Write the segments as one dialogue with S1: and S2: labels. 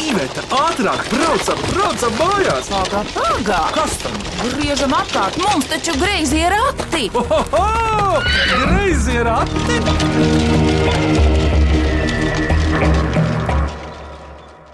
S1: Iveta, ātrāk, braucam, braucam mājās!
S2: Pagā, pagā!
S1: Kas tam?
S2: Griežam apkārt, mums taču greizi ir akti!
S1: Ohoho! Greizi ir ati!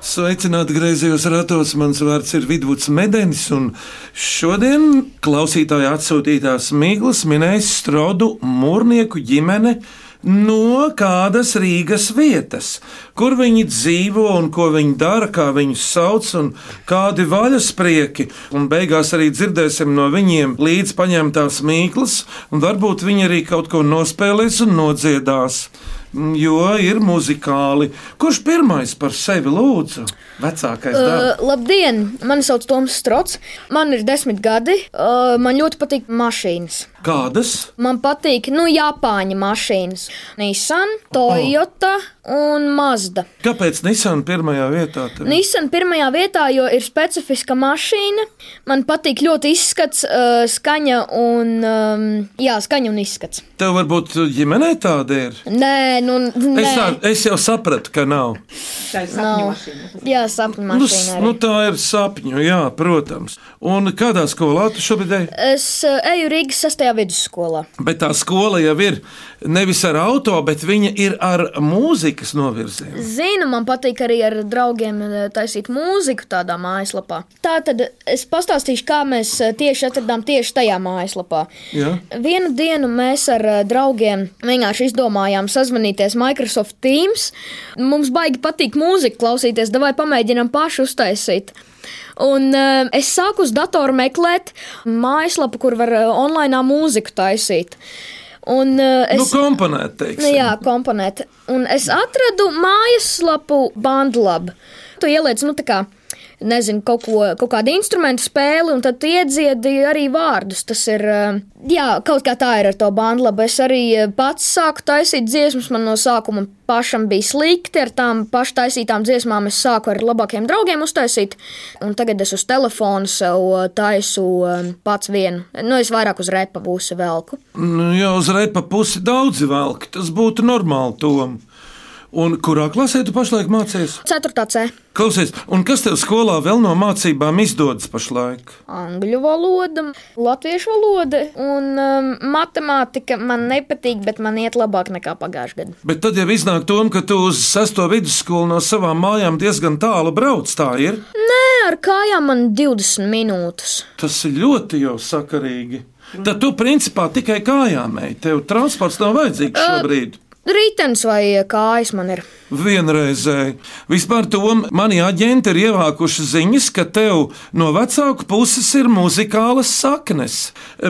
S3: Sveicināti griezījos ratos. Mans vārds ir Vidvuds Medenis, un šodien klausītāja atsūtītās miglas minēs Strodu mūrnieku ģimene no kādas Rīgas vietas, kur viņi dzīvo un ko viņi dara, kā viņus sauc un kādi vaļasprieki. Un beigās arī dzirdēsim no viņiem līdz paņemtās miglas, un varbūt viņi arī kaut ko nospēlēs un nodziedās. Mm, Jo ir muzikāli. Kurš pirmais par sevi lūdzu? Vecākais darbs.
S4: Uh, labdien! Mani sauc Toms Strots. Man ir desmit gadi. Uh, man ļoti patīk mašīnas.
S3: Kādas?
S4: Man patīk, nu, Japāņu mašīnas. Nissan,
S3: Oh.
S4: Toyota un Mazda.
S3: Kāpēc Nissan pirmajā vietā? tev?
S4: Nissan pirmajā vietā, jo ir specifiska mašīna. Man patīk ļoti izskats, uh, skaņa un, um, jā, skaņa un izskats.
S3: Tev varbūt ģimenē tāda ir.
S4: Nē, nu, nē.
S3: Es, tā, es jau sapratu, ka nav.
S4: nav. Jā, sapņu
S3: Nu, s-
S4: mašīna.
S3: nu,
S4: arī.
S3: tā ir sapņu, jā, protams. Un kādā skolā tu šobrīd ej?
S4: Es uh, eju Rīgas 6. vidusskolā.
S3: Bet tā skola jau ir nevis ar auto, bet viņa ir ar mūzikas novirzienu.
S4: Zinu, man patīk arī ar draugiem eh, taisīt mūziku tādā mājaslapā. Tā tad es pastāstīšu, kā mēs eh, tieši atradām tieši tajā mājaslapā.
S3: Ja?
S4: Vienu dienu mēs ar eh, draugiem vienkārši izdomājām sazvanīties Microsoft Teams. Mums baigi patīk mūzika klausīties, vai pamēģinām pašu uztaisīt. Un uh, es sāku uz datoru meklēt mājaslapu, kur var uh, online mūziku taisīt. Un, uh,
S3: Es...
S4: es...
S3: Nu, komponēt,
S4: Nu,
S3: teiksim.
S4: jā, komponēt. Un es atradu mājaslapu bandlabu. Tu ieliec, nu, tā kā, nezinu, kaut, ko, kaut kādu instrumentu spēli, un tad tu iedziedi arī vārdus. Tas ir, eh, jā, kaut kā tā ir ar to bandlabu. Es arī eh, pats sāku taisīt dziesmas, man no sākuma pašam bija slikti ar tām paštaisītām dziesmām. Es sāku ar labākiem draugiem uztaisīt, un tagad es uz telefona sev eh, taisu eh, pats vienu. Nu, es vairāk uz repa būsu velku.
S3: Nu, jau uz repa pusi daudzi velk, tas būtu normāli tom. Un kurā klasē tu pašlaik mācies?
S4: Ceturtā C.
S3: Klausies, un kas tev skolā vēl no mācībām izdodas pašlaik?
S4: angļu valoda, latviešu valoda un um, matemātika man nepatīk, bet man iet labāk nekā pagājušajā gadā.
S3: Bet tad jau iznāk tom, ka tu uz sesto vidusskolu no savām mājām diezgan tālu brauc. Tā ir.
S4: Nē, ar kājām man 20 minūtes.
S3: Tas ir ļoti jau sakarīgi. Tad tu principā tikai kājām ej. Tev transports nav vajadzīgs šobrīd.
S4: Rītens vai kājas man ir?
S3: Vienreizēji. Vispār tom mani aģenti ir ievākuši ziņas, ka tev no vecāku puses ir muzikālas saknes.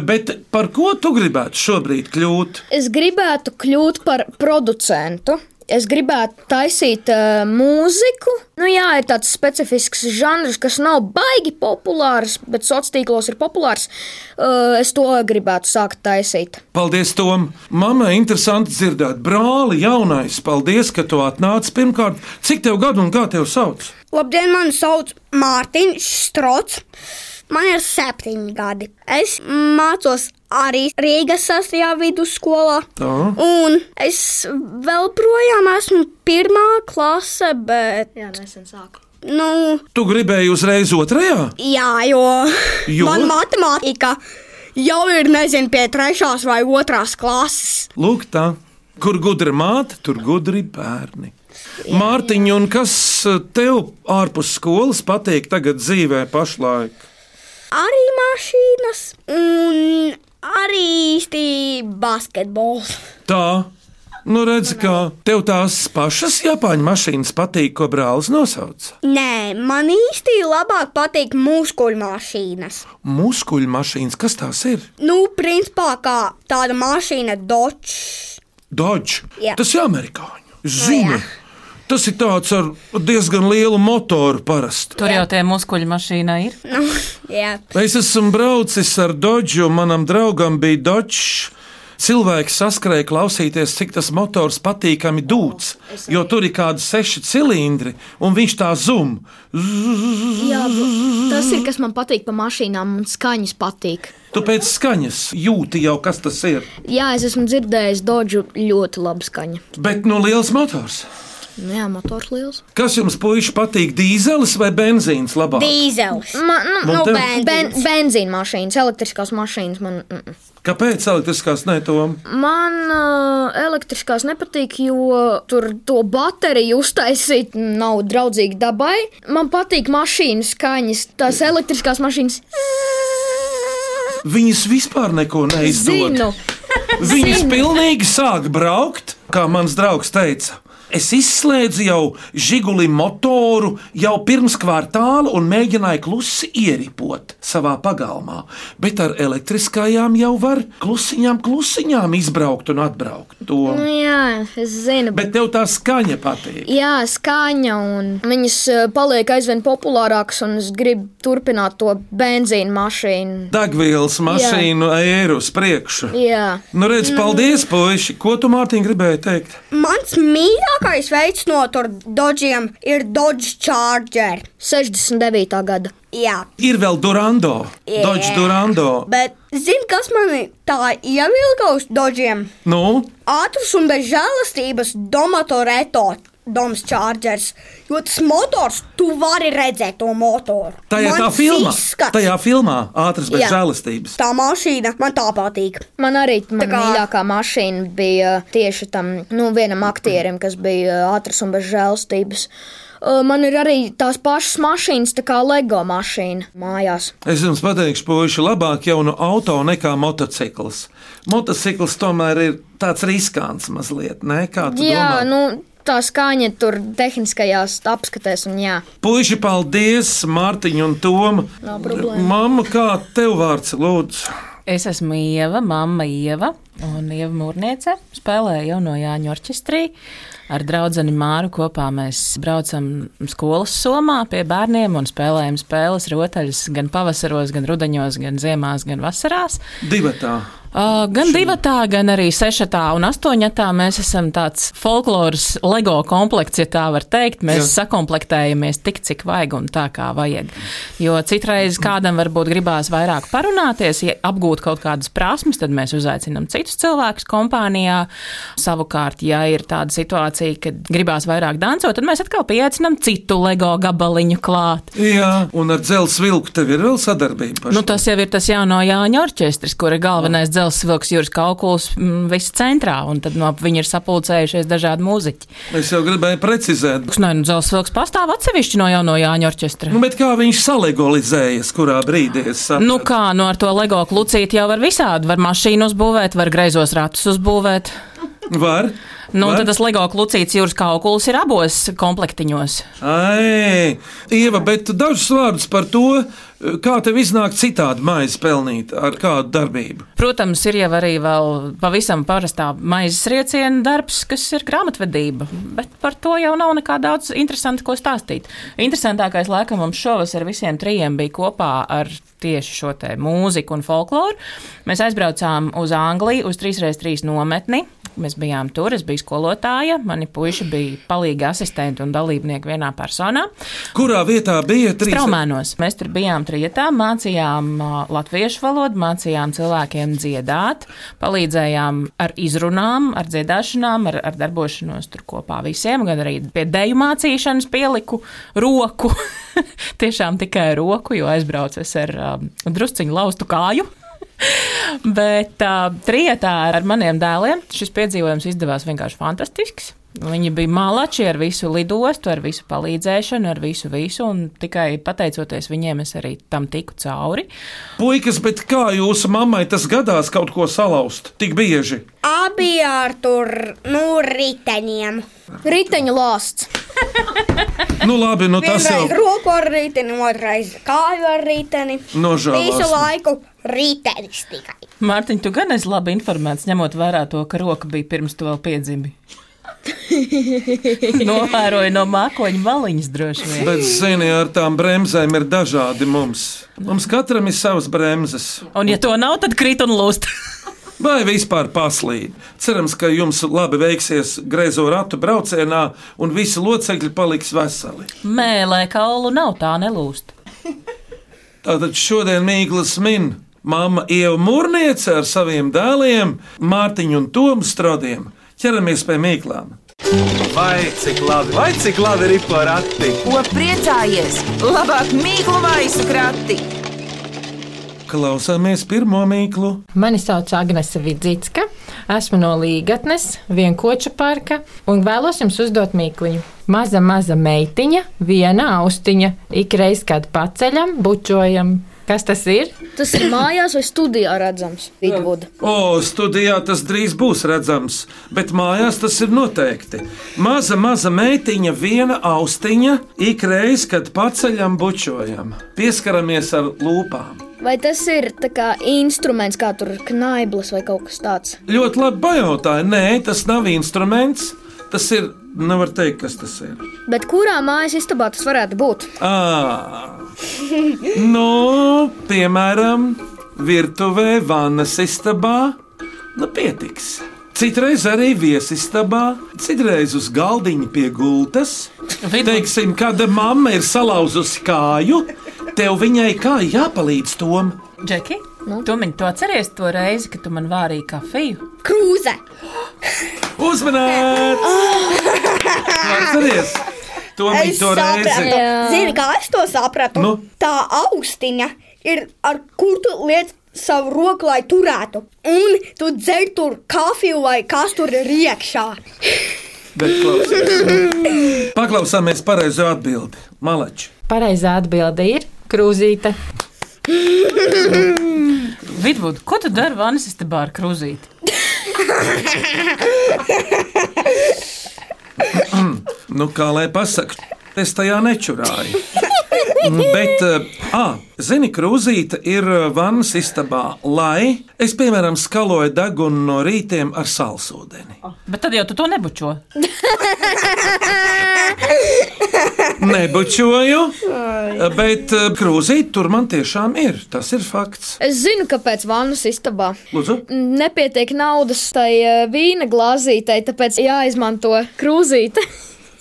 S3: Bet par ko tu gribētu šobrīd kļūt?
S4: Es gribētu kļūt par producentu. Es gribētu taisīt uh, mūziku. Nu, jā, ir tāds specifisks žanrs, kas nav baigi populārs, bet sociālos tīklos ir populārs. Uh, es to gribētu sākt taisīt.
S3: Paldies, Tom! Māmai interesanti dzirdēt, brāli, jaunais. Paldies, ka tu atnāci. Pirmkārt, cik tev gadu un kā tev sauc?
S5: Labdien, man sauc Mārtiņš Strots. Man ir septiņi gadi. Es mācos arī Rīgas sastajā vidusskolā.
S3: Tā.
S5: Un es vēl projām esmu pirmā klase, bet. Jā, nesen sāku. Nu,
S3: Tu gribēji uzreiz otrajā?
S5: jā, jo,
S3: Jo?
S5: man matemātika jau ir, nezinu, pie trešās vai otrās klases.
S3: Lūk, tā. Kur gudra māte, tur gudri bērni. Mārtiņa, un kas tev ārpus skolas patīk tagad dzīvē pašlaik?
S5: Arī mašīnas un arī īsti basketbols.
S3: Tā, nu redz, kā tev tās pašas japāņu mašīnas patīk, ko brālis nosauca.
S5: Nē, man īsti labāk patīk muskuļu mašīnas.
S3: Muskuļu mašīnas, kas tās ir?
S5: Nu, principā, kā tāda mašīna, dočs.
S3: Dodž.
S5: Jā. Nu,
S3: Tas ir amerikāņu. Es Zinu.
S5: jā.
S3: Tas ir tāds ar diezgan lielu motoru parasti.
S6: Tur jau tie muskuļi mašīnā ir.
S5: Nu, jā.
S3: Es esmu braucis ar Dodžu, un manam draugam bija Dodžs. Cilvēki saskrēja klausīties, cik tas motors patīkami dūts,
S4: Oh,
S3: jo tur ir kādi seši cilindri, un viņš tā zum.
S4: Jā, tas ir kas man patīk par mašīnām, un skaņas patīk.
S3: Tu pēc skaņas jūti jau, kas tas ir.
S4: Jā, es esmu dzirdējis Dodžu ļoti labu skaņu.
S3: Bet no liels nu, motors.
S4: Nu Jā, motors liels.
S3: Kas jums, puiši, patīk? Dīzelis vai benzīns labāk?
S5: Dīzels.
S4: Man, nu,
S3: Man
S5: Nu,
S3: tev-
S5: bērns.
S4: ben, benzīna mašīnas, elektriskās mašīnas. Man, mm, mm.
S3: Kāpēc elektriskās netom?
S4: man uh, elektriskās nepatīk, jo tur to bateriju uztaisīt nav draudzīgi dabai. Man patīk mašīnas skaņas, tās elektriskās mašīnas.
S3: Viņas vispār neko neizdod.
S4: Zinu,
S3: Viņas pilnīgi sāk braukt, kā mans draugs teica. Es izslēdzu jau žiguli motoru jau pirms kvartāla un mēģināju klusi ieripot savā pagalmā, bet ar elektriskajām jau var klusiņām, klusiņām izbraukt un atbraukt. To.
S4: Nu jā, es zinu.
S3: Bet tev tā skaņa patīk.
S4: Jā, skaņa, un viņas eh, paliek aizvien populārākas, un es gribu turpināt to benzīna mašīnu.
S3: Dagvīls mašīnu eiro uz priekšu.
S4: Jā,
S3: Nu, redz, paldies, puiši. Ko tu, Mārtiņ, gribēji teikt?
S5: Mans mīļākais veids no tur dodžiem ir Dodge Charger.
S4: 69. gada.
S5: Jā,
S3: Ir vēl Durando,
S5: Jā.
S3: Dodge Durando.
S5: bet zini, kas man tā ievilka uz dodžiem?
S3: Nu,
S5: Ātrums un bez žēlastības domatoreto. Doms Chargers, jo tas motors, tu vari redzēt to motoru.
S3: tajā tā
S5: Mans
S3: filmā,
S5: izskats,
S3: tajā filmā ātras bez
S5: Jā.
S3: žēlastības.
S5: tā mašīna man tā patīk.
S4: Man arī tā kā...
S5: kā-
S4: mīļākā mašīna bija tieši tam nu, vienam aktierim, kas bija ātrs un bez žēlstības. Eh, Man ir arī tās pašas mašīnas, tā kā LEGO mašīna mājās.
S3: Es jums pateikšu, puiši, labāk jau no auto nekā motocikls. Motocikls tomēr ir tāds riskants mazliet, ne? Kā tu
S4: Jā,
S3: domā?
S4: nu, tā skaņa tur tehniskajās apskatēs, un jā.
S3: Puiši, paldies, Mārtiņ un Tom. Nav problēma. Mamma, kā tev vārds, lūdzu?
S6: Es esmu Ieva, mamma Ieva un Ieva Mūrniece. Spēlēju jau no Jāņa orķestrī. Ar draugu Māru kopā mēs braucam skolas somā pie bērniem un spēlējam spēles rotaļas gan pavasaros, gan rudenos, gan ziemās, gan vasarās.
S3: Divatā.
S6: Uh, gan divatā, gan arī sešatā un astoņatā mēs esam tāds folkloras lego komplekts, ja tā var teikt. Mēs
S3: Jā.
S6: Jā. sakomplektējamies tik, cik vajag un tā, kā vajag. Jo citreiz kādam varbūt gribās vairāk parunāties, ja apgūt kaut kādas prasmes, tad mēs uzaicinām citus cilvēkus kompānijā. Savukārt, ja ir tāda situācija, kad gribās vairāk dancot, tad mēs atkal pieaicinām citu lego gabaliņu klāt.
S3: Jā, un ar dzelzceļa vilku tev ir vēl sadarbība.
S6: Nu, tas jau ir tas jauno Jāņa orķestris, kur ir galvenais dzelzceļa vilks jūras kalkuls mm, visā centrā, un tad no viņa ir sapulcējušies dažādi mūziķi.
S3: Es jau gribēju precizēt.
S6: Nē, nu, dzelzceļa vilks pastāv atsevišķi no jauno Jāņa orķestra.
S3: Nu, bet kā viņš salegalizējas, kurā brīdī es saprotu?
S6: Nu kā, nu ar to LEGO klucīti jau var visādi. Var mašīnu uzbūvēt, var greizos ratus uzbūvēt.
S3: Var?
S6: Nu, un
S3: Var?
S6: tad tas LEGO klucīts jūras kaukulis ir abos komplektiņos.
S3: Ai, Ieva, bet dažus vārdus par to, kā tev iznāk citādi maizi pelnīt ar kādu darbību.
S6: Protams, ir jau arī vēl pavisam parastā maizes rieciena darbs, kas ir grāmatvedība, bet par to jau nav nekā daudz interesanta, ko stāstīt. Interesantākais laikam mums šovasar visiem trijiem bija kopā ar tieši šo te mūziku un folkloru. Mēs aizbraucām uz Angliju uz 3x3 nometni. Mēs bijām tur, es biju skolotāja, mani puiši bija palīgi asistenti un dalībnieki vienā personā.
S3: Kurā vietā bija trīs?
S6: Traumēnos. Mēs tur bijām trijotā, mācījām ā, latviešu valodu, mācījām cilvēkiem dziedāt, palīdzējām ar izrunām, ar dziedāšanām, ar, ar darbošanos tur kopā visiem, gan arī pie deju mācīšanas pieliku roku. Tiešām tikai roku, jo aizbraucu es ar um, drusciņu laustu kāju. Bet uh, trijotā ar maniem dēliem šis piedzīvojums izdevās vienkārši fantastisks. Viņi bija malači ar visu lidostu, ar visu palīdzēšanu, ar visu visu, un tikai pateicoties viņiem, es arī tam tiku cauri.
S3: Puikas, bet kā jūsu mammai tas gadās kaut ko salauzt tik bieži?
S5: Abi ar tur, nu, riteņiem.
S4: Riteņa lāsts.
S3: Nu labi, nu tas
S5: Vienreiz
S3: jau
S5: roku ar riteni, otrreiz kāju ar riteni.
S3: Nu,
S5: Visu
S3: nožēlās.
S5: laiku ritenis tikai.
S6: Mārtiņ, tu gan esi labi informēts, ņemot vērā to, ka roka bija pirms tu vēl piedzimi. Novēroju no mākoņa maliņas droši vien.
S3: Bet, zini, ar tām bremzēm ir dažādi mums. Mums katram ir savas bremzes.
S6: Un ja to nav, tad krīt un lūst.
S3: Vai vispār paslīd? Cerams, ka jums labi veiksies griezo ratu braucienā un visi locekļi paliks veseli.
S6: Mēlē kaulu nav, tā nelūst.
S3: Tātad šodien Mīglas min mamma Ieva Mūrniece ar saviem dēliem Mārtiņu un Tomu Strodiem. Ķeramies pie mīklām!
S1: Vai cik labi, vai cik labi ir porati?
S2: Ko priecājies? Labāk mīklu maisu krati.
S3: Klausāmies pirmo mīklu.
S7: Mani sauc Agnese Vidzicka, esmu no Līgatnes, vienkoča parka un vēlos jums uzdot mīkluņu. Maza, maza meitiņa, viena austiņa, ikreiz kad paceļam, bučojam. Kas tas ir?
S4: Tas ir mājās vai studijā redzams. Vidvuda.
S3: O, studijā tas drīz būs redzams, bet mājās tas ir noteikti. Maza, maza meitiņa, viena austiņa, ik reiz, kad paceļam bučojam, pieskaramies ar lūpām.
S4: Vai tas ir tā kā instruments, kā tur knaiblis vai kaut kas tāds?
S3: Ļoti labi pajautāja, nē, tas nav instruments, tas ir, nevar teikt, kas tas ir.
S4: Bet kurā mājas istabā tas varētu būt?
S3: À, Ah. nu, piemēram, virtuvē, vannas istabā, nu pietiks. Citreiz arī viesistabā, citreiz uz galdiņa pie gultas. Teiksim, kad mamma ir salauzusi kāju, tev viņai kā jāpalīdz tom.
S6: Džeki, nu? tu man to atceries to reizi, kad tu man vārīji kafiju?
S5: Krūze.
S3: Uzmanīt! Atceries! Tomēr
S5: Es
S3: to reizi!
S5: sapratu. Zini, kā es to sapratu?
S3: Nu?
S5: Tā austiņa ir ar kur tu liec savu roku, lai turētu. Un tu dzer tur kafiju vai kas tur ir iekšā.
S3: Bet klausies. Paklausāmies pareizo atbildi. Malači!
S7: Pareizā atbilde ir krūzīte.
S6: Vidvud, ko tu dari vannas istabā ar krūzīti?
S3: Nu, kā lai pasaktu, es tajā nečurāju. Mm, Bet, ah, zini, krūzīte ir ā, vannas istabā, lai es, piemēram, skaloju degunu no rītiem ar sālsūdeni.
S6: Bet tad jau tu to nebučo.
S3: Nebučoju, eh, bet ā, krūzīte tur man tiešām ir. Tas ir fakts.
S4: Es zinu, kāpēc vannas istabā.
S3: Lūdzu,
S4: Nepietiek naudas tai eh, vīna glāzītei, tāpēc jāizmanto krūzīte.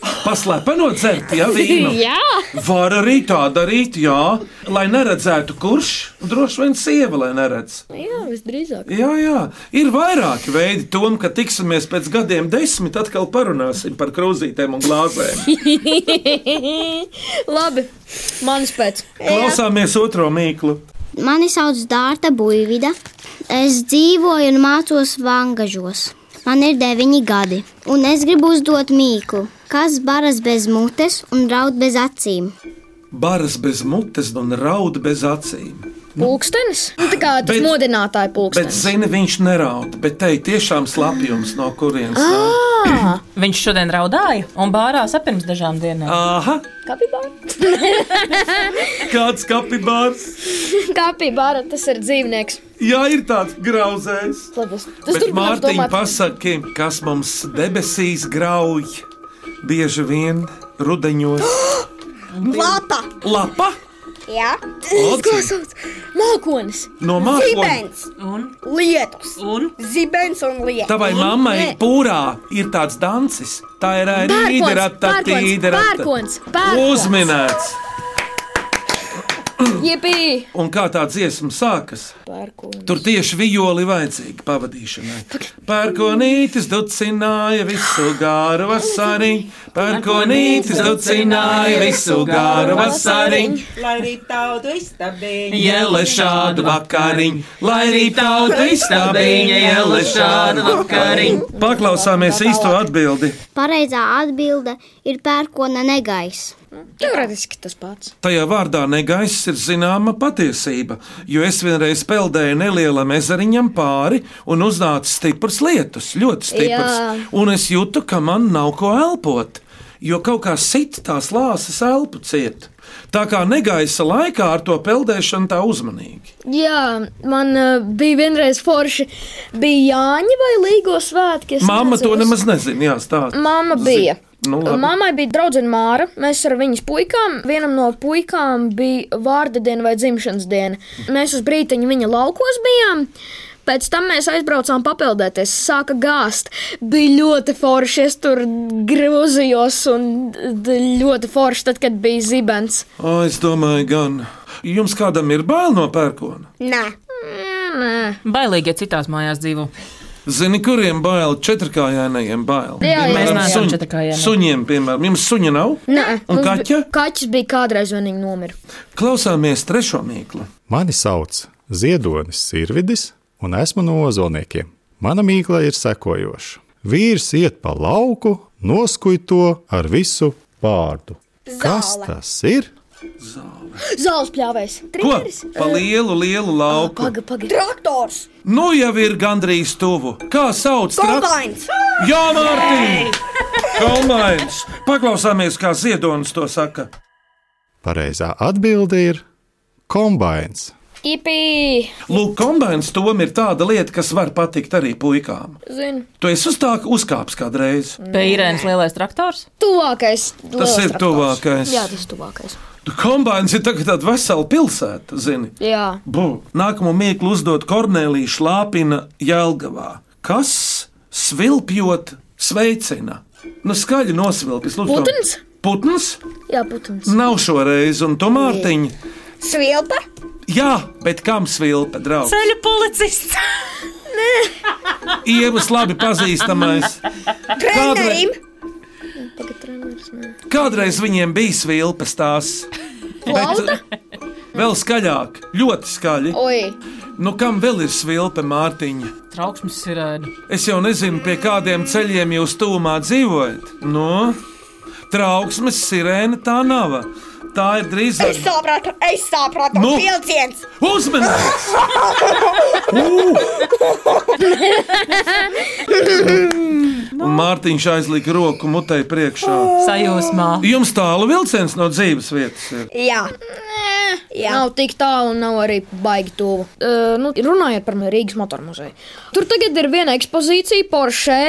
S3: paslēpenot dzert, ja vīnu.
S4: Jā,
S3: Var arī tā darīt, jā, lai neredzētu, kurš droši vien sieva, lai neredz.
S4: jā visdrīzāk.
S3: Jā, jā, ir vairāki veidi tam, ka tiksimies pēc gadiem desmit, atkal parunāsim par krūzītēm un glāzēm.
S4: Labi, manis pēc.
S3: Klausāmies otro mīklu.
S8: Mani sauc Dārta Buļvida. Es dzīvoju un mācos Vangažos. Man ir deviņi gadi, un es gribu uzdot mīklu, kas baras bez mutes un raud bez acīm.
S3: Baras bez mutes un raud bez acīm.
S4: Pūkstenis? Nu, tā kā tas
S3: Bet-
S4: modinātāja
S3: Bet,
S4: pūkstenis.
S3: zini, viņš neraud, bet te ir tiešām slapjums, no kurienes
S4: Ah.
S3: nāk.
S6: Viņš šodien raudāja un bārās ap pirms dažām dienām.
S3: Aha,
S4: Kapibāra?
S3: kāds kapibārs.
S4: Kapibāra, tas ir dzīvnieks.
S3: Jā, ir tāds grauzējs.
S4: Labi, es- tas
S3: Bet
S4: turpinās
S3: Mārtiņa
S4: domāt.
S3: pasaki, kas mums debesīs grauj bieži vien rudeņos.
S5: Lapa.
S3: Lapa!
S5: Jā.
S3: Locī.
S4: Mākonis.
S3: No mākoņa!
S5: Zibens.
S6: Un,
S5: Lietus.
S6: un
S5: Zibens un lietus.
S3: Tavai mammai pūrā ir tāds dansis. Tā ir arī
S4: Pērkons,
S3: īderata,
S4: pērkons,
S3: tīderata.
S4: pērkons, pērkons.
S3: Uzminēts!
S4: Jebī.
S3: Un kā tā dziesma sākas?
S4: Pērkonis.
S3: Tur tieši vijoli vajadzīga pavadīšanai. Pērkonītis ducināja visu garu vasarī. Pērkonītis ducināja visu garu vasarī.
S9: Lai arī tautu iztabiņu.
S3: Iele šādu vakariņu, lai arī tauta istabiņa, iele šādu vakariņu. Paklausāmies īsto atbildi.
S8: Pareizā atbilde ir pērkona negaiss.
S4: Teorētiski tas pats.
S3: Tajā vārdā negaiss ir zināma patiesība, jo es vienreiz peldēju nelielam ezeriņam pāri un uznāca stiprs lietus, ļoti stiprs.
S4: Jā.
S3: Un es jūtu, ka man nav ko elpot, jo kaut kā sit tās lāses elpu ciet. Tā kā negaisa laikā ar to peldēšanu tā uzmanīgi.
S4: Jā, man uh, bija vienreiz forši. Bija Jāņa vai Līgo svētki. es
S3: Māma to
S4: neatceros.
S3: nemaz nezina, jā, stāsta.
S4: Māma bija.
S3: Nu, labi.
S4: Māmai bija draudzene Māra. Mēs ar viņas puikām, vienam no puikām bija vārda diena vai dzimšanas diena. Mēs uz brīdiņu viņa laukos bijām. Pēc tam mēs aizbraucām papildēties, sāka gāzt. Bija ļoti forši, es tur grūzījos, un d- ļoti forši, tad, kad bija zibens.
S3: O, es domāju, gan. Jums kādam ir bail no pērkona?
S5: Nē.
S6: bailīgie citās mājās dzīvo.
S3: Zini, kuriem bail? Četrkājainajiem bail.
S4: Jā, Mm. jā.
S6: Mēs
S3: Piemēram,
S6: neesam
S3: suņ-
S6: četrkājaini.
S3: Suņiem, piemēram, jums suņa nav?
S4: Nē,
S3: Un
S4: mums
S3: kaķa?
S4: bi- Kaķis bija kādreiz vienīgi nomira.
S3: Klausāmies trešo mīklu.
S10: Mani sauc Ziedonis Sirvidis, un esmu no ozolniekiem. Mana mīkla ir sekojoša. Vīrs iet pa lauku, noskuj to ar visu pārdu. Kas
S5: Zāle.
S10: tas ir?
S5: Zāles pļāvējs.
S3: Ko? Pa lielu, lielu lauku.
S4: Paga, paga.
S5: Traktors.
S3: Nu jau ir gandrīz tuvu. Kā sauc? trak-
S5: Kokains.
S3: Jā, Mārtiņ! Kalmains! Paklausāmies, kā Ziedonis to saka.
S10: Pareizā atbilde ir kombains.
S4: Ipī!
S3: Lūk, kombinācija tom ir tāda lieta, kas var patikt arī puikām.
S4: Zinu.
S3: Tu esi uz tā uzkāpis kādreiz.
S4: Mm.
S6: Pērēns lielais traktors.
S4: Tuvākais.
S3: Tas
S4: liels
S3: ir
S4: traktors.
S3: tuvākais.
S4: Jā, tas ir tuvākais.
S3: Kombinācija ir tagad tāda vesela pilsēta, zini.
S4: Jā.
S3: Bu. Nākamo mīklu uzdod Kornelija Šlāpina Jēlgavā. Kas svilpjot sveicina? Nu, skaļi nosvilpjas. Lūdzu, to-
S4: Putns?
S3: Putns?
S4: Jā, putns.
S3: Nav šoreiz, un tu Mārtiņ.
S5: Svilpa.
S3: Jā, bet kam svilpa, draugs?
S9: Ceļu policists.
S3: Ievas labi pazīstamais.
S5: Trenerim.
S3: Kādreiz viņiem bija svilpes tās. Bet, eh, vēl skaļāk, ļoti skaļi.
S4: Oi,
S3: Nu, kam vēl ir svilpe, Mārtiņa?
S6: Trauksmes eh, sirēna.
S3: Es jau nezinu, pie kādiem ceļiem jūs tūmā dzīvojat. Nu, trauksmes sirēna tā nav. Tā ir
S5: Es
S3: drīzāk
S5: sapratu, es sapratu.
S3: Nu?
S5: Vilciens.
S3: uzmanības! Mārtiņš aizlika roku mutei priekšā.
S6: Sajūsmā.
S3: Jums tālu vilciens no dzīves vietas ir.
S5: Jā.
S4: jā. Nav tik tālu un nav arī baigi tuvu. Uh, nu, runājot par Rīgas motoru muzeju. Tur tagad ir viena ekspozīcija Porsche,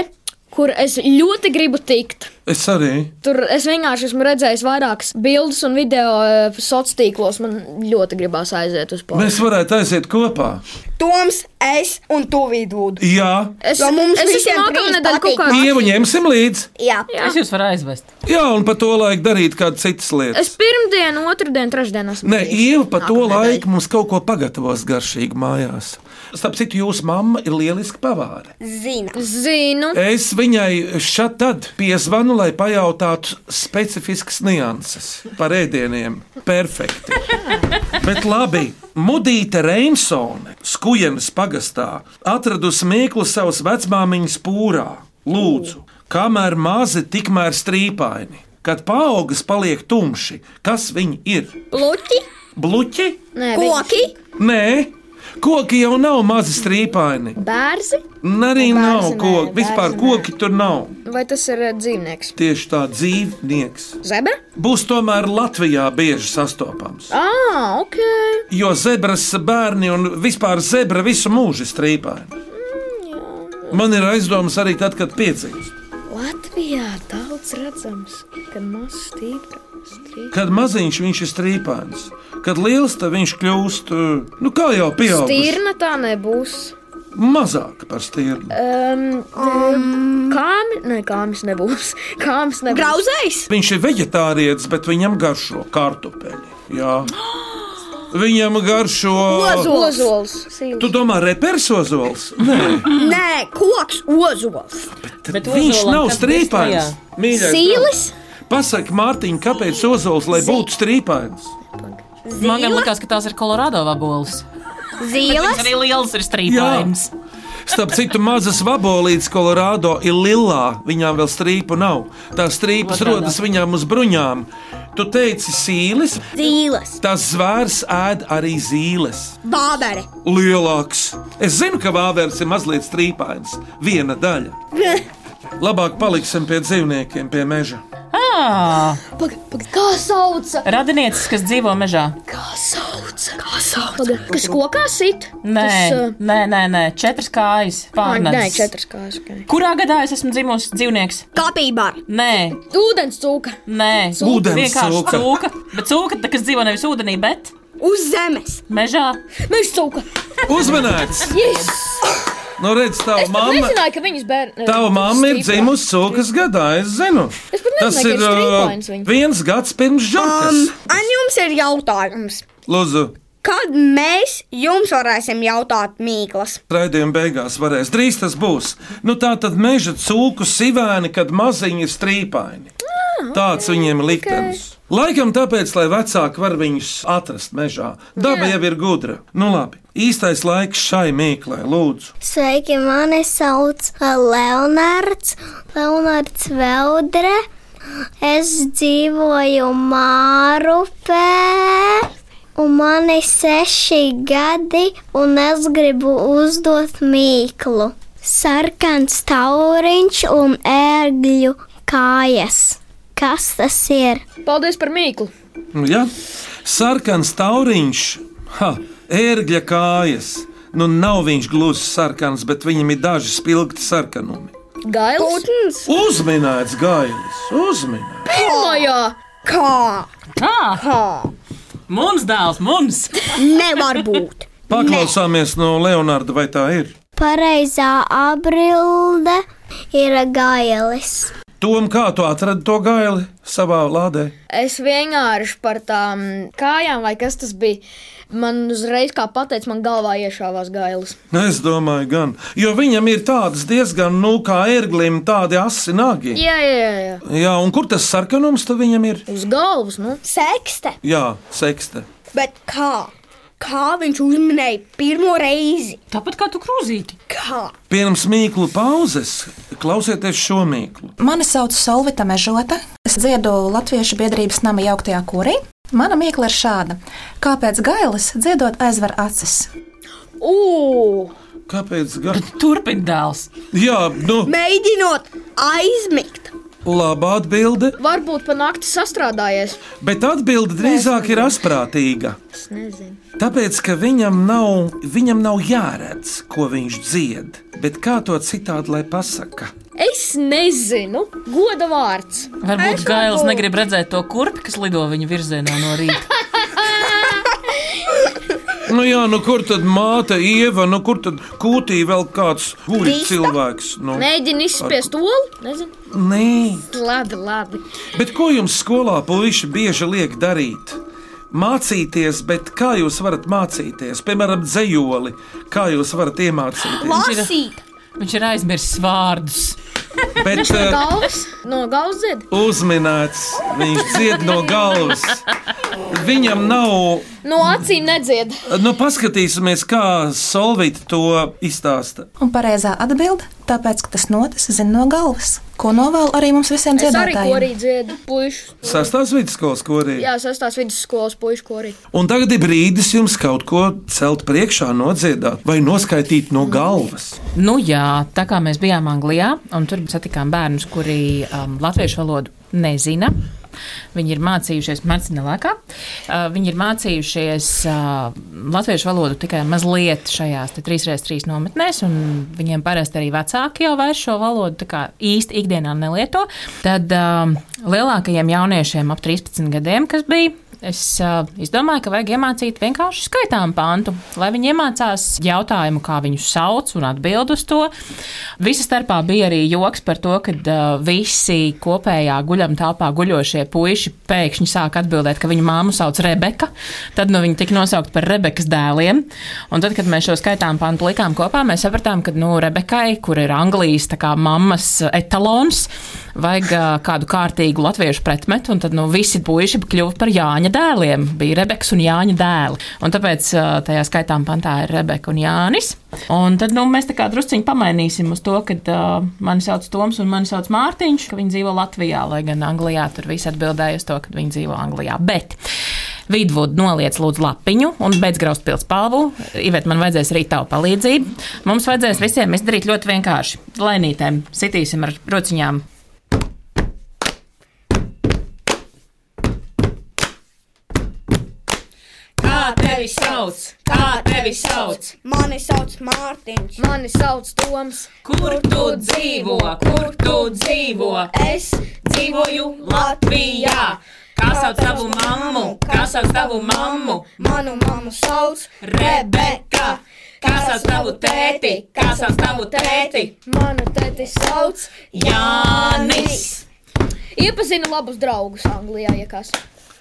S4: kur es ļoti gribu tikt.
S3: Es arī.
S4: Tur es vienkārši esmu redzējis vairākas bildes un video uh, sociālos tīklos. Man ļoti gribās aiziet uz Porsche.
S3: Mēs varētu aiziet kopā.
S5: Toms, es un tu vidūdu.
S3: Jā,
S4: Es,
S5: Jo mums
S4: es
S5: visiem
S4: esmu nākamā
S5: trīs
S4: nedēļa kaut
S5: patīk.
S4: kādā
S3: Ievu ņemsim līdzi.
S5: Jā.
S6: Es jūs varu aizvest.
S3: Jā, un pa to laiku darīt kādas citas lietas.
S4: Es pirmdienu, otrdienu, trešdienu esmu.
S3: Nē,
S4: bijis.
S3: Ieva pa to
S4: Nākamnedēļ.
S3: laiku mums kaut ko pagatavos garšīgi mājās. Starp citu, jūsu mamma ir lieliska pavāra.
S5: Zina.
S4: Zinu,
S3: Es viņai šad tad piezvanu, lai pajautātu specifiskas nianses par ēdieniem. Perfekti. Bet labi, Mudita Reinsone, Skujenas pagastā, atradusi mīklu savas vecmāmiņas pūrā. Lūdzu, kamēr mazi, tikmēr strīpaini. Kad paaugas paliek tumši, kas viņi ir?
S5: Pluķi.
S3: Bluķi?
S4: nē,
S5: Koki.
S3: Nē, koki jau nav mazi strīpaini.
S4: bērzi.
S3: Nē, arī
S4: Bērzi
S3: nav
S4: nē,
S3: koki. Vispār
S4: bērzi nē.
S3: koki tur nav.
S4: Vai tas ir eh, dzīvnieks?
S3: Tieši tā dzīvnieks.
S4: Zebra?
S3: Būs tomēr Latvijā bieži sastopams.
S4: Ah, ok.
S3: Jo zebras bērni un vispār zebra visu mūžu ir strīpaini. Man ir aizdomas arī tad, kad piedzimst.
S4: Latvijā daudz redzams, ka mazs tīkls strīd.
S3: Kad maziņš viņš ir strīpains, kad liels tad viņš kļūst, uh, nu kā jau pieaugušs,
S4: Tīrna tā nebūs.
S3: mazāk par stīrnu.
S4: Um, um. Kāmi? Nē, kāmis nebūs. Kāmis nebūs.
S5: Grauzējs.
S3: Viņš ir vegetārietis, bet viņam garšo kartupeļi. Jā. Viņam garšo.
S4: Ozols. Ozols.
S3: Tu domā, repersozols? Nē,
S5: Nē, koks ozols.
S6: Bet
S3: viņš
S6: ozolam
S3: nav
S6: kas
S3: strīpains.
S6: bija
S3: Mīļais draugs. Pasaki, Mārtiņ, kāpēc ozols, lai būtu strīpains?
S6: tajā? Man gan likās, ka tās ir Kolorādo vaboles. Viņas
S5: Zīles.
S6: arī liels ir strīpains.
S3: Starp citu, mazas vabolītes Kolorādo ir lilā, viņām vēl strīpu nav. Tās strīpas
S6: Otrādā.
S3: rodas viņām uz bruņām. Tu teici sīles,
S5: Zīles.
S3: tas zvērs ēd arī zīles.
S5: Bābere.
S3: Lielāks. Es zinu, ka vāveres ir mazliet strīpains, viena daļa. Labāk paliksim pie dzīvniekiem, pie meža.
S6: Ā,
S4: Paga, paga. Kā sauca?
S6: Radinieces, kas dzīvo mežā.
S4: Kā sauca? Kā sauca? Paga. Kas kokā sit?
S6: Nē,
S4: Tas, uh,
S6: nē, nē, nē. četras kājas.
S4: Ai,
S6: Pārnēs.
S4: Nē, četras kājas. Okay.
S6: Kurā gadā es esmu dzimusi dzīvnieks?
S5: Kapībara.
S6: Nē,
S4: Ūdens cūka.
S6: nē,
S3: Ūdens
S6: vienkārši
S3: cūka.
S6: cūka. Bet cūka, tā, kas dzīvo nevis ūdenī, bet
S5: Uz zemes.
S6: mežā.
S4: Meža cūka.
S3: Uzmanīts!
S4: Yes.
S3: Nu, redz, tavu
S4: Es pat
S3: mammu!
S4: nezināju, ka viņas bērns.
S3: Tava mamma ir dzimusi Sūkas gadā, es zinu.
S4: Es pat nezināju, ka ir
S3: uh,
S4: strīpains viņa.
S3: viens gads pirms žurkas.
S5: Um, An jums ir jautājums.
S3: Lūdzu,
S5: Kad mēs jums varēsim jautāt, Mīklas?
S3: Raidījuma beigās varēs. Drīz tas būs. Nu, tā tad meža cūku sivēni, kad maziņi ir strīpaini. Tāds viņiem ir liktenis. Laikam tāpēc, lai vecāki var viņus atrast mežā. Daba jau ir gudra. Nu, labi. Īstais laiks šai mīklē, lūdzu.
S8: Sveiki, mani sauc eh, Leonards, Leonards Veldre. Es dzīvoju Mārupē, un man ir seši gadi, un es gribu uzdot mīklu. Sarkans tauriņš un ērgļu kājas. Kas tas ir?
S4: Paldies par mīklu!
S3: Nu, Ja? Sarkans tauriņš, ha, ērgļa kājas. Nu, nav viņš gluži sarkans, bet viņam ir daži spilgti sarkanumi.
S4: Gails!
S5: Putns,
S3: Uzminēts gailis, uzminēts.
S4: Pirmajā!
S5: kā?
S6: Tā,
S5: kā?
S6: mums dēls, mums!
S5: Nevar būt.
S3: Paklausāmies no Leonarda, vai tā ir.
S8: Pareizā apbilde ir gailis.
S3: Tom, kā tu atradi to gaili savā lādē?
S4: Es vienkārši par tām kājām, vai kas tas bija, man uzreiz, kā pateicis, man galvā iešāvās gailis.
S3: Nu, Es domāju, gan. Jo viņam ir tādas diezgan, nu, kā ērglim, tādi asi nagi.
S4: Jā, jā, jā.
S3: Jā, un kur tas sarkanums tad viņam ir?
S4: Uz galvas, nu?
S5: Sekste.
S3: Jā, sekste.
S5: Bet kā? Kā viņš uzminēja pirmo reizi?
S6: Tāpat kā tu krūzīti.
S5: Kā?
S3: Pirms mīklu pauzes klausieties šo mīklu.
S11: Mani sauc Solvita Mežota. Es dziedu Latviešu biedrības nama jauktajā kurī. Mana mīkla ir šāda. Kāpēc gailis dziedot aizver acis?
S4: Ugh!
S3: Kāpēc gan?
S6: Turpin dēls.
S3: Jā, nu,
S5: Mēģinot aizmigt.
S3: laba atbilde,
S4: Varbūt pa nakti sastrādājies.
S3: bet atbilde drīzāk ir asprātīga.
S4: Es nezinu.
S3: Tāpēc, ka viņam nav, viņam nav jāredz, ko viņš dzied, bet kā to citādi lai pasaka.
S4: Es nezinu. Goda vārds.
S6: Varbūt Gails negrib redzēt to kurpi, kas lido viņa virzienā no rīta.
S3: Nu jā, nu kur tad māte ieva, nu kur tad kūtī vēl kāds guļ cilvēks? Nu,
S4: Mēģini izspiest olu. Nezinu.
S3: nē.
S4: Labi, labi.
S3: Bet ko jums skolā puiši bieži liek darīt? Mācīties, bet kā jūs varat mācīties? Piemēram, dzējoli. Kā jūs varat iemācīties?
S5: Lasīt.
S6: Viņš ir aizmirsis vārdus.
S3: Bet, eh,
S4: Galvas no galvas dzied.
S3: Uzminēts, viņš dzied no galvas. Viņam nav.
S4: No acīm nedzied.
S3: Nu, paskatīsimies, kā Solvīta to izstāsta.
S11: Un pareizā atbilde - tāpēc, ka tas noticis zina no galvas, ko novēlu arī mums visiem
S4: Es arī
S11: dziedātājiem.
S4: korī dziedu puikas.
S3: Sastāvs vidusskolas korī.
S4: Jā, sastās vidusskolas puikas korī.
S3: Un tagad ir brīdis jums kaut ko celt priekšā, nodziedāt vai noskaitīt no galvas.
S6: Nu jā, tā kā mēs bijām Anglijā, un tur satikām bērnus, kuri um, latviešu valodu nezina. Viņi ir mācījušies, Marcina Lakā. Uh, viņi ir mācījušies uh, latviešu valodu tikai mazliet šajās te 3x3 nometnēs, un viņiem parasti arī vecāki jau vairs šo valodu tā kā īsti ikdienā nelieto. Tad um, lielākajiem jauniešiem ap 13 gadiem, kas bija, Es uh, domāju, ka vajag iemācīt vienkārši skaitām pantu, lai viņi iemācās jautājumu, kā viņu sauc un atbild uz to. Visa starpā bija arī joks par to, ka uh, visi kopējā guļam telpā guļošie puiši pēkšņi sāk atbildēt, ka viņu māmu sauc Rebeka. Tad nu, viņi tika nosaukti par Rebekas dēliem. Un tad, kad mēs šo skaitām pantu likām kopā, mēs sapratām, ka nu, Rebekai, kur ir Anglijas tā kā mammas etalons, vajag uh, kādu kārtīgu latviešu pretmetu, un tad nu, visi puiši kļuva par Jāņa dēliem. Bija Rebeks un Jāņa dēli. Un tāpēc uh, tajā skaitām pantā ir Rebeka un Jānis. Un tad nu, mēs tā kā drusciņi pamainīsim uz to, ka uh, mani sauc Toms un mani sauc Mārtiņš, ka viņi dzīvo Latvijā, lai gan Anglijā tur viss atbildēja uz to, ka viņi dzīvo Anglijā. Bet Vidvudu noliec lūdzu lapiņu un beidz graust pilspalvu. Ivet, man vajadzēs arī tavu palīdzību. Mums vajadzēs visiem izdarīt ļoti vienkārši. Lainītēm sitīsim ar rociņām
S9: Kā tevi sauc? Kā tevi sauc?
S5: Mani sauc Mārtiņš.
S4: Mani sauc Toms.
S9: Kur tu dzīvo? Kur tu dzīvo?
S5: Es
S9: Dzīvoju Latvijā. Kā sauc tavu mammu? Kā sauc tavu mammu?
S5: Manu mammu sauc
S9: Rebeka. Kā sauc tavu tēti? Kā sauc tavu tēti?
S4: Manu tēti sauc.
S9: Jānis.
S4: Iepazinu labus draugus Anglijā, ja kas.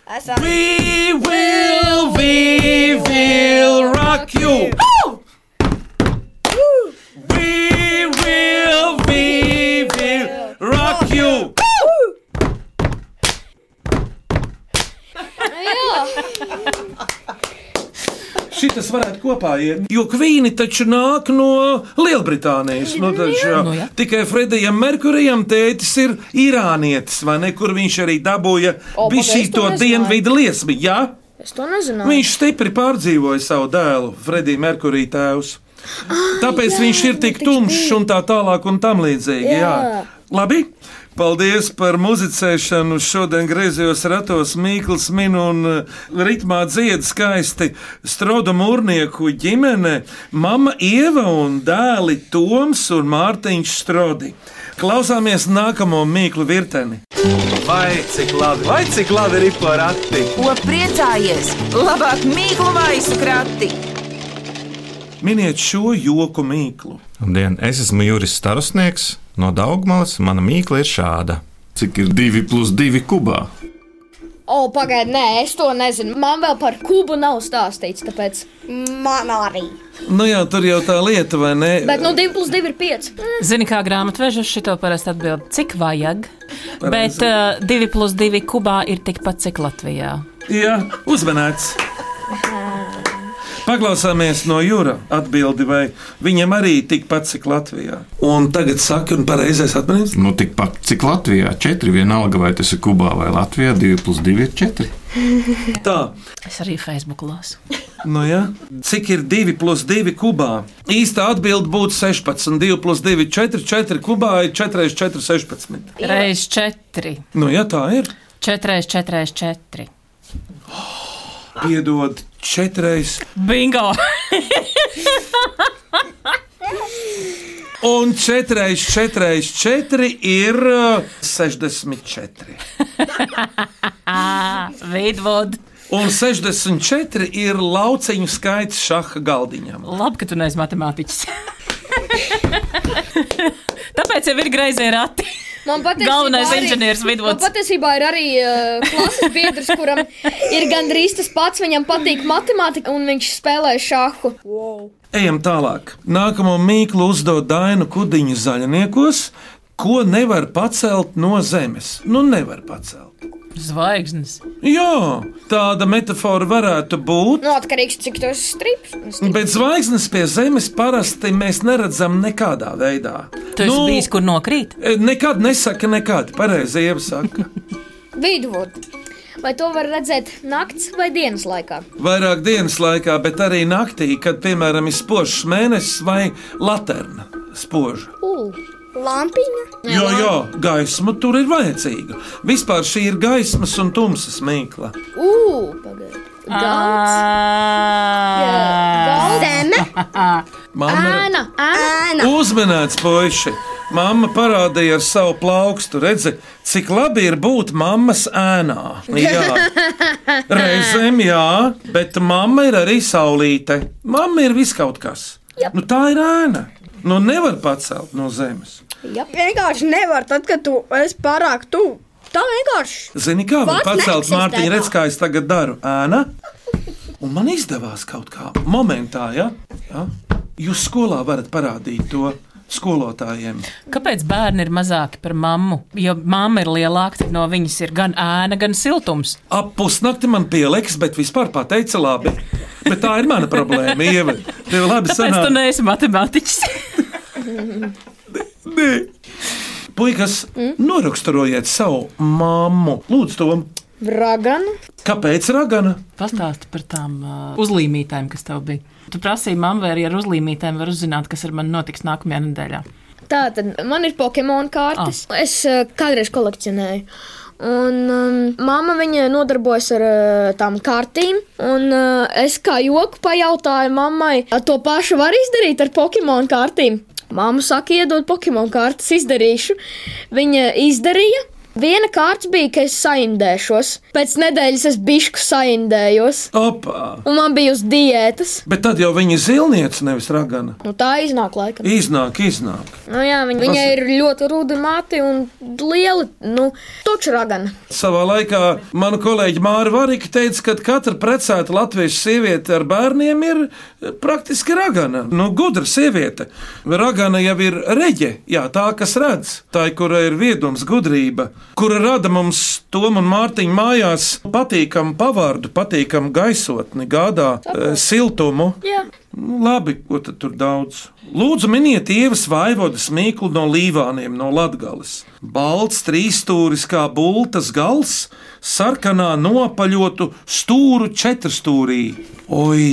S5: Esam.
S3: We will, we will rock you. We will, we will rock you. Šitas varētu kopā iet. Jo kvīni taču nāk no Lielbritānijas. Nu, taču, jā.
S6: Nu, jā.
S3: Tikai Fredijam Merkurijam tētis ir īrānietis, vai ne? Kur viņš arī dabūja
S4: O, paldies,
S3: bišķīto
S4: to nezināju.
S3: dienvidu liesmi. Jā?
S4: Es to nezināju.
S3: Viņš stipri pārdzīvoja savu dēlu, Fredija Merkurija tēvs. Tāpēc jā, viņš ir tik tumšs un tā tālāk un tam līdzīgi. Jā. Jā.
S4: Jā.
S3: Labi, paldies par muzicēšanu. Šodien griezījos ratos Mīkls min un uh, ritmā dzied skaisti Stroda mūrnieku ģimene, mama Ieva un dēli Toms un Mārtiņš Strodi. Klausāmies nākamo Mīklu virteni.
S1: Vai cik labi, vai cik labi ir porati?
S2: Ko priecājies? Labāk mīklu maisu krati!
S3: Miniet šo joku Mīklu.
S12: Labdien, es esmu Juris Starosnieks no Daugmalas. Mana mīkla ir šāda. Cik ir divi plus divi kubā?
S4: O, pagaidi, nē, es to nezinu. Man vēl par kubu nav stāstīts, tāpēc.
S5: Man arī.
S3: Nu jā, tur jau tā lieta, vai ne?
S4: Bet, nu, 2 plus 2 ir 5.
S6: Zini, kā grāmatveža šito parasti atbild, cik vajag. Bet uh, 2 plus 2 kubā ir tikpat cik Latvijā.
S3: Jā, uzmanīts. Paklausāmies no Jūra atbildi, vai viņam arī tikpat cik Latvijā. Un tagad saka, un pareizais atmiņas.
S12: Nu, tikpat cik Latvijā - 4. Vienalga, vai tas ir Kubā vai Latvijā, 2 plus 2 ir 4.
S3: Tā,
S6: Es arī Facebook lasu.
S3: nu jā, cik ir 2 plus 2 kubā? Īsta atbilde būtu 16, 2 plus 2, 4, 4 kubā ir 4, 4, 16.
S6: Reiz 4.
S3: Nu jā, tā ir.
S6: 4, 4, 4.
S3: Piedod, 4.
S6: Bingo!
S3: Un 4, 4, 4 ir uh, 64.
S6: Veidvod!
S3: Un 64 ir lauciņu skaits šaha galdiņam.
S6: Labi, ka tu neesi matemātiķis. Tāpēc jau ir greizi rati.
S4: Man patiesībā
S6: Galvenais
S4: arī-
S6: inženieris Vidvuds.
S4: Man patiesībā ir arī uh, klases biedrs, kuram ir gandrīz tas pats. Viņam patīk matemātika, un viņš spēlē šāhu. Wow.
S3: Ejam tālāk. Nākamo mīklu uzdod Dainu Kudiņu zaļniekos, ko nevar pacelt no zemes. Nu, nevar pacelt.
S6: Zvaigznes.
S3: Jā, tāda metāfora varētu būt.
S4: Nu, atkarīgs no cik tas strips.
S3: Bet zvaigznes pie zemes parasti mēs neredzam nekādā veidā. Nu, eh,
S6: Tu esi bijis, kur nokrīt?
S3: Nekad nesaka, nekad. Pareizi iesaka.
S4: Vidvuds. Vai to var redzēt naktas vai dienas laikā?
S3: Vairāk dienas laikā, bet arī naktī, kad, piemēram, ir spožs mēnesis vai laterna spoža.
S5: Lampiņa.
S3: Jo, jo, gaisma tur ir vajadzīga. Vispār šī ir gaismas un tumsas mīkla.
S4: Ugh, pagaidiet.
S5: Zeme.
S3: Mamma
S4: Ēna, ēna.
S3: ir uzmanīts, puiši. Mamma parādīja ar savu plaukstu, redzi, cik labi ir būt mammas ēnā. Jā. Reizēm jā, bet mamma ir arī saulīte. Mamma ir viskaut kas. Nu, tā ir ēna. Nu, nevar pacelt no zemes.
S5: Jā, vienkārši nevar. Tad, kad tu esi pārāk tuvu, tā vienkārši.
S3: Zini, kā var
S5: Vārds
S3: pacelt
S5: neeksistē,
S3: Mārtiņu,
S5: tā.
S3: redz, kā es tagad daru ēna. Un man izdevās kaut kā momentā, ja? ja? Jūs skolā varat parādīt to skolotājiem.
S6: Kāpēc bērni ir mazāki par mammu? Jo mamma ir lielāka, tad no viņas ir gan ēna, gan siltums.
S3: Ap pusnakti man pieliks, bet vispār pateica labi. Bet tā ir mana problēma, Ieva. Tev labi
S6: Tāpēc tu
S3: sanāk.
S6: neesi matemātiķis.
S3: Nē. Puikas, noraksturojiet savu mammu. Lūdzu, Tom,
S4: Ragana.
S3: kāpēc ragana?
S6: Pastāsti par tām uh, uzlīmītēm, kas tev bija. Tu prasīji mammu, vai arī ar uzlīmītēm var uzzināt, kas ar mani notiks nākamajā nedēļā.
S4: Tā tad man ir Pokemon kartes. Oh. Es uh, kādreiz kolekcionēju. Un um, mamma viņa nodarbojas ar uh, tām kartīm. Un, uh, es kā joku pajautāju mammai, "A, to pašu var izdarīt ar Pokemon kartīm. Māma saka, iedod Pokemon kartes, izdarīšu. Viņa izdarīja. Viena kārta bija, ka es saindēšos. Pēc nedēļas es bišku saindējos.
S3: Opā!
S4: Un man bija uz diētas.
S3: Bet tad jau viņa zilniece nevis ragana.
S4: Nu, tā iznāk laikam.
S3: Iznāk, iznāk.
S4: Nu, jā, viņa, viņa
S3: Tas-
S4: ir ļoti ruda māte un liela, nu, tukšragana.
S3: Savā laikā mana kolēģe Māra Varika teica, ka katra precēta latviešu sieviete ar bērniem ir eh, praktiski ragana. Nu, gudra sieviete. Ragana jau ir reģe, jā, tā kas redz, tā ir, kura ir viedums, gudrība, kura rada mums Tomu un Mārtiņu mājās patīkamu pavārdu, patīkamu gaisotni, gādā eh, siltumu.
S4: Jā.
S3: Nu, labi, ko tad tur daudz? Lūdzu, miniet ievas vaivodas mīklu no līvāniem, no latgales. Balts, trīsstūris kā bultas gals, sarkanā nopaļotu stūru četrstūrī. Oi!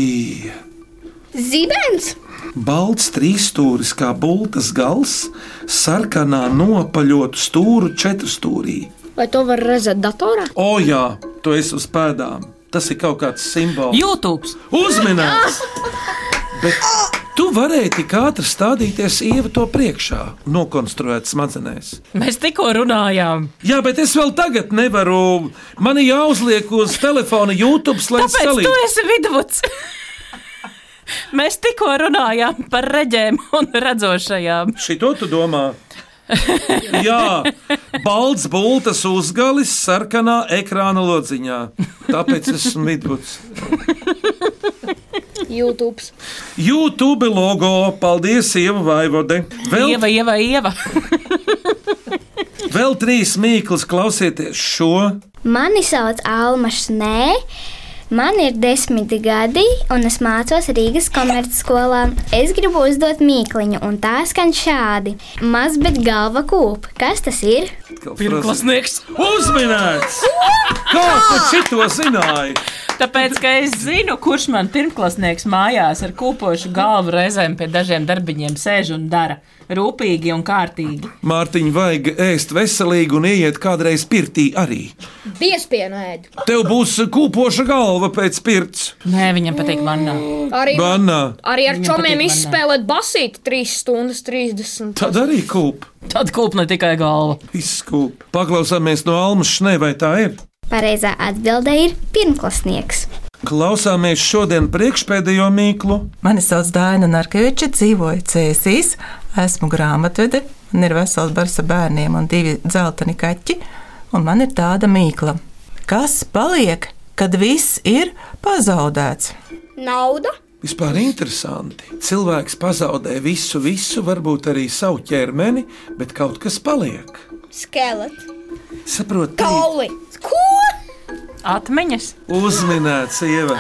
S5: Zibens!
S3: Balts, trīsstūris kā bultas gals, sarkanā nopaļotu stūru četrstūrī.
S4: Vai to var redzēt datorā?
S3: O, jā, tu esi uz pēdām. Tas ir kaut kāds simbols.
S6: YouTube!
S3: Uzmanīgs! Bet tu varēji tik ātri stādīties ieva to priekšā, nokonstruēt smadzenēs.
S6: Mēs tikko runājām.
S3: Jā, bet es vēl tagad nevaru. Man ir jāuzliek uz telefona YouTube, lai es
S6: Tāpēc Stalīt. tu
S3: salīdzinātu.
S6: esi vidusceļš. Mēs tikko runājām par reģēm un redzošajām.
S3: Šito tu domā? Jā, balts, bultas uzgalis, sarkanā ekrāna lodziņā. Tāpēc esmu vidus.
S4: YouTube.
S3: YouTube logo, paldies, Ieva Vaivode. Vēl
S6: Ieva, ieva, ieva.
S3: Vēl trīs mīklas klausieties šo.
S8: Mani sauc Alma Šnē. Man ir desmit gadi, un es mācos Rīgas komercskolā. Es gribu uzdot mīkliņu, un tā skan šādi: Maz, bet galva kūp. Kas tas ir?
S6: Pirmklasnieks.
S3: Uzminēts! Kā tu šito zināji?
S6: Tāpēc, ka es zinu, kurš man pirmklasnieks mājās ar kūpošu galvu reizēm pie dažiem darbiņiem sēž un dara rūpīgi un kārtīgi.
S3: Mārtiņa vajag ēst veselīgi un ieiet kādreiz pirtī arī.
S4: Piespienu ēdu.
S3: Tev būs kūpoša galva pēc pirts.
S6: Nē, viņam patīk manā.
S4: Arī,
S3: Banā.
S4: arī ar
S6: Viņam
S4: čomiem
S6: patīk
S4: izspēlēt basīti 3 stundas 30.
S3: Tad arī kūp.
S6: Tad kūp ne tikai galva.
S3: Viss kūp. Paklausāmies no Almas Šnei, vai tā ir?
S8: Pareizā atbildē ir pirmklasnieks.
S3: Klausāmies šodien priekšpēdējo mīklu.
S13: Mani sauc Dāna Narkeviča, dzīvoju Cēsīs, esmu grāmatvede, man ir vesels bars ar bērniem un divi dzelteni kaķi, un man ir tāda mīkla. Kas paliek, kad viss ir pazaudēts?
S5: Nauda!
S3: Vispār interesanti. Cilvēks pazaudē visu, visu, varbūt arī savu ķermeni, bet kaut kas paliek.
S5: Skelets!
S3: Saprotiet,
S5: Kauli! Ko?
S6: Atmiņas.
S3: Uzminēts, ieva.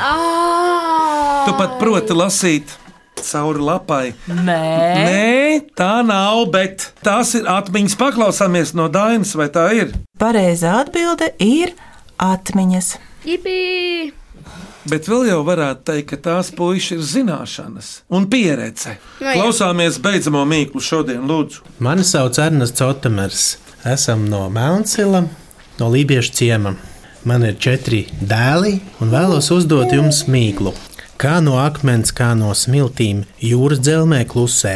S3: Tu pat proti lasīt cauri lapai.
S6: Nē,
S3: Nē, tā nav, bet tās ir atmiņas. Paklausāmies no Dainas, vai tā ir?
S13: Pareizā atbilde ir atmiņas.
S4: Jipī!
S3: Bet vēl jau varētu teikt, ka tās puikas ir zināšanas un pieredze.
S4: Nu, jā.
S3: Klausāmies beidzamo mīklu šodien, lūdzu.
S14: Mani sauc Ernsts Otamers. Esam no Melncila, no Lībiešu ciemata. Man ir četri dēli un vēlos uzdot jums mīklu. Kā no akmens, kā no smiltīm jūras dzelzmē klusē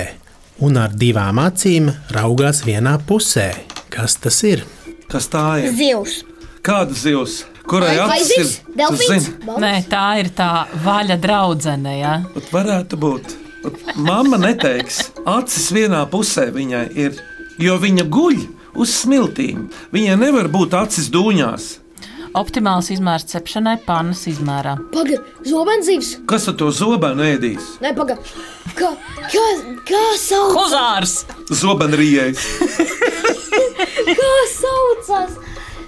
S14: un ar divām acīm raugās vienā pusē. Kas tas ir?
S3: Kas tā ir?
S5: Zivs!
S3: Kāda zivs? Kurai
S5: Vai- vai
S3: acis ir?
S5: zivs?
S3: Tu
S5: Delfīns?
S3: zini,
S6: Nē tā ir tā vaļa draudzene. Ja?
S3: pat Varētu būt. Pat Mamma neteiks, acis vienā pusē viņai ir, jo viņa guļ uz smiltīm. Viņai nevar būt acis dūņās.
S6: Optimāls izmērs cepšanai panas izmērā.
S2: Paga, zobenzības.
S3: Kas ar to zobenu ēdīs?
S2: Nē, paga. Kā, kā, kā sauc?
S6: Huzārs!
S3: Zobenrījējs.
S2: kā saucās?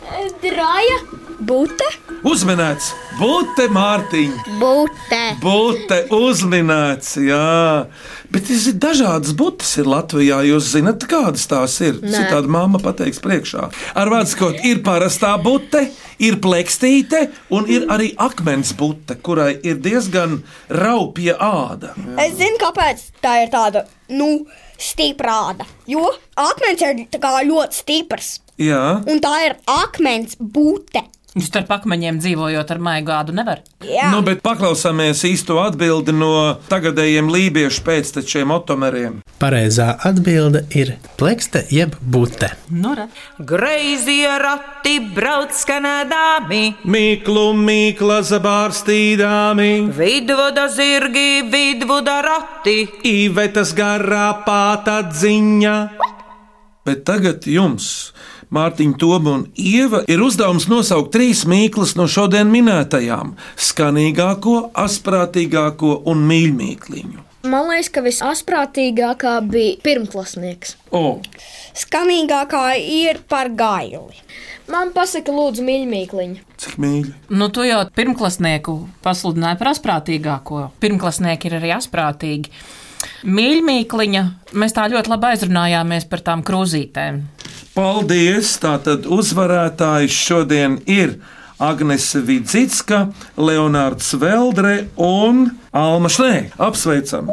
S2: Eh, Draja? Būte?
S3: Uzminēts, būte Mārtiņa.
S5: Būte.
S3: Būte uzminēts, jā. Bet tas ir dažādas būtnes ir Latvijā. Jūs zināt, kādas tās ir?
S15: Nē.
S3: Citādi mamma pateiks priekšā. Ar vārdu sakot, ir parastā būte, ir plekstīte un ir arī akmens būte, kurai ir diezgan raupja āda.
S5: Es zinu, kāpēc tā ir tāda, nu, stiprāda. Jo akmens ir tā kā ļoti stiprs.
S3: Jā.
S5: Un tā ir akmens būte.
S6: Nu, Starp akmeņiem dzīvojot ar maigu gādu nevar.
S3: Nu, bet paklausāmies īsto atbildi no tagadējiem lībiešu pēctečiem, otomeriem.
S14: Pareizā atbilde ir plekste jeb bute.
S6: Nu, re.
S9: Greizie rati brauc skanēdami,
S3: Mīklu, mīkla zabārstīdāmi,
S9: vidvuda zirgi, vidvuda rati.
S3: īvetas garā pāta ziņa. Bet tagad jums, Mārtiņa Toba un Ieva, ir uzdevums nosaukt trīs mīklas no šodien minētajām - skanīgāko, asprātīgāko un mīļākliņu.
S4: Man liekas, ka visasprātīgākā bija pirmklasnieks.
S3: O,
S4: Skanīgākā ir par gaili. Man pasaka, lūdzu, mīļmīkliņa.
S3: cik mīļi!
S6: Nu, tu jau pirmklasnieku pasludināji par asprātīgāko. Pirmklasnieki ir arī asprātīgi. Mīļmīkliņa, mēs tā ļoti labi aizrunājāmies par tām krūzītēm.
S3: Paldies! Tātad uzvarētājs šodien ir Agnese Vidzicka, Leonards Veldre un Alma Šnē. Apsveicam!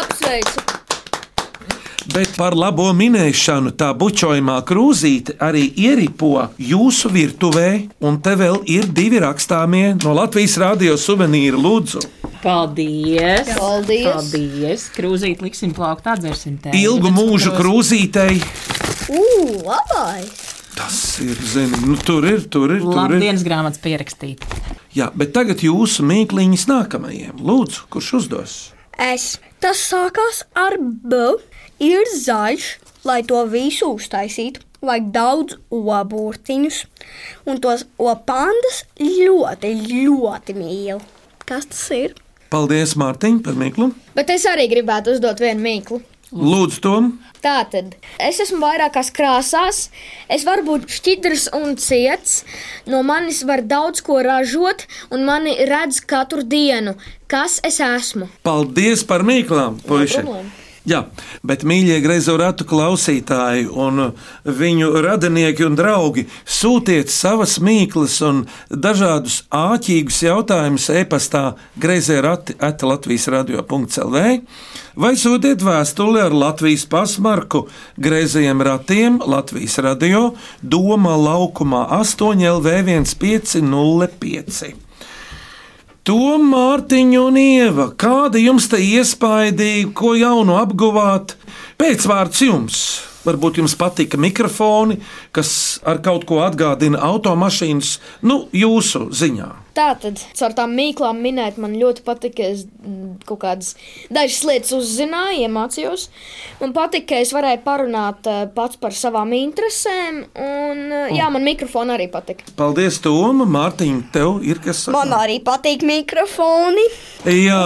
S4: Apsveicu!
S3: Bet par labo minēšanu tā bučojumā krūzīte arī ieripo jūsu virtuvē, un te vēl ir divi rakstāmie no Latvijas radio suvenīra Lūdzu.
S6: Paldies!
S4: Paldies!
S6: Paldies. Krūzīt, liksim plaukt, atdzersim te.
S3: Ilgu mūžu krūzītei.
S4: Ugh, labi!
S3: Tas ir, zini, nu, tur ir, tur ir, tur
S6: Labi,
S3: ir.
S6: dienas grāmatas pierakstīt.
S3: Jā, bet tagad jūsu mīkliņas nākamajiem. Lūdzu, kurš uzdos?
S5: Es. Tas sākās ar B. Ir zaļš, lai to visu uztaisītu. Vajag daudz oburtiņus, un tos opandas ļoti, ļoti mīlu. Kas tas ir?
S3: Paldies, Mārtiņ, par mīklu.
S4: Bet es arī gribētu uzdot vienu mīklu.
S3: Lūdzu, Tom,
S4: Tā tad es esmu vairākās krāsās, es varu būt šķidrs un ciets. No manis var daudz ko ražot, un mani redz katru dienu, kas es esmu.
S3: paldies par mīklām, puiši!
S4: problēma.
S3: Jā, bet mīļie grazorātu klausītāji un viņu radinieki un draugi, sūtiet savas mīklas un dažādus āķīgus jautājumus e-pastā grazorāti atlatvijas radio.clv vai sūtiet vēstuli ar Latvijas pasmarku grazējiem ratiem Latvijas radio Doma laukumā 8 LV1505. To Mārtiņu un Ieva, kāda jums te iespaidīja, ko jaunu apguvāt? Pēcvārds jums. Varbūt jums patika mikrofoni, kas ar kaut ko atgādina automašīnas, nu, jūsu ziņā.
S4: Tā tad ar tām mīklām minēt, man ļoti patīk, ka es mm, kaut kādas dažas lietas uzzināju, iemācījos. Man patīk, ka es varēju parunāt eh, pats par savām interesēm, un eh, jā, man mikrofona arī patīk.
S3: Paldies, Toma, Mārtiņ, tev ir kas
S5: Man arī patīk mikrofoni.
S3: Jā,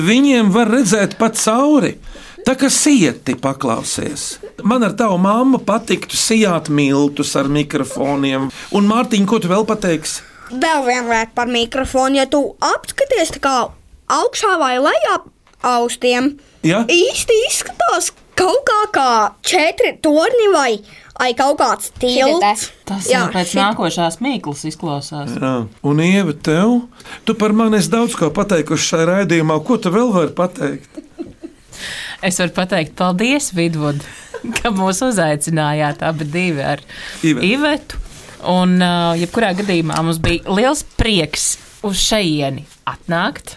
S3: viņiem var redzēt pa cauri. Tā kā sieti paklausies. Man ar tavu mammu patiktu sijāt miltus ar mikrofoniem. Un, Mārtiņ, ko tu vēl pateiksi?
S5: Vēl vienmēr par mikrofonu, ja tu apskaties tā kā augšā vai lejā austiem.
S3: Ja?
S5: Īsti izskatās kaut kā kā četri torņi vai, vai kaut kāds tilts.
S6: Tas jau pēc nākošās mīklas izklausās.
S3: Jā. Un, Ieva, tev? Tu par mani esi daudz ko pateikusi šajā raidījumā. Ko tu vēl vari pateikt?
S6: Es varu pateikt paldies, Vidvud, ka mūs uzaicinājāt abi divi ar
S3: Ivetu.
S6: Ivetu. Un, uh, jebkurā gadījumā mums bija liels prieks uz šejieni atnākt.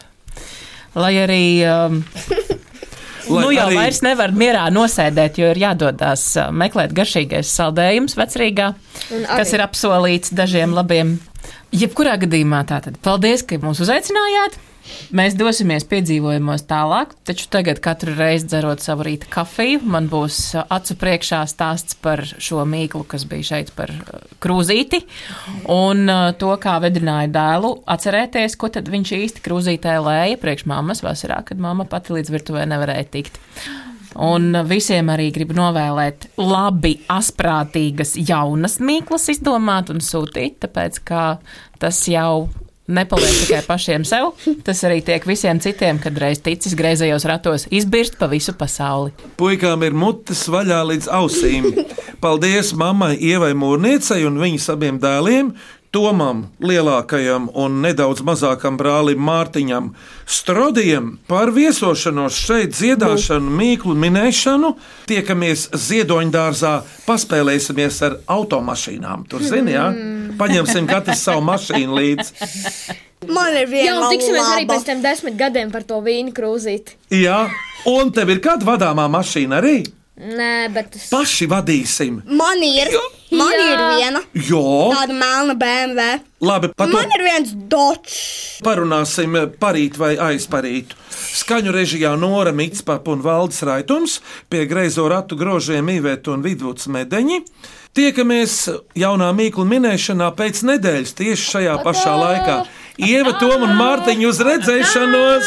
S6: Lai arī um,
S9: Lai
S6: nu
S9: arī-
S6: jau arī... vairs nevar mierā nosēdēt, jo ir jādodas uh, meklēt garšīgais saldējums vecrīgā,
S4: Un arī-
S6: kas ir apsolīts dažiem labiem. Jebkurā gadījumā tātad paldies, ka mūs uzaicinājāt. Mēs dosimies piedzīvojumos tālāk, taču tagad katru reizi dzerot savu rīta kafiju, man būs uh, acu priekšā stāsts par šo mīklu, kas bija šeit par uh, krūzīti un uh, to, kā vedināja dēlu. Atcerēties, ko tad viņš īsti krūzītē lēja priekš mammas vasarā, kad mamma pati līdz virtuvē nevarēja tikt. Un uh, visiem arī gribu novēlēt labi, asprātīgas, jaunas mīklas izdomāt un sūtīt, tāpēc ka tas jau Nepaliek tikai pašiem sev, tas arī tiek visiem citiem, kad reiz ticis greizējos ratos, izbirst pa visu pasauli.
S3: Puikām ir mutes vaļā līdz ausīm. Paldies mammai Ievai Mūrniecei un viņas abiem dēliem. Tomam, lielākajam un nedaudz mazākam brālim Mārtiņam, Strodijam par viesošanos šeit, dziedāšanu, mīklu minēšanu. Tiekamies ziedoņdārzā, paspēlēsimies ar automašīnām. Tur zini, jā, paņemsim katrs savu mašīnu līdzi.
S5: Man ir viena
S4: Jā, un tiksimies arī
S5: laba.
S4: pēc tam desmit gadiem par to vīnu krūzīti.
S3: Jā, un tev ir kāda vadāmā mašīna arī?
S4: Nē, bet es.
S3: Paši vadīsim.
S5: Man ir, man
S4: Jā.
S5: ir viena
S3: Jo,
S5: tāda melna BMW.
S3: labi, pat
S5: Man ir viens dots.
S3: Parunāsim parīt vai aizparīt. Skaņu režijā Nora Mitspapa un Valdis Raitums, pie greizo ratu grožiem Īvēt un Vidvuds Medeņi. Tiekamies jaunā mīklu minēšanā pēc nedēļas tieši šajā pašā laikā. Ieva Tom un Mārtiņu uz redzēšanos!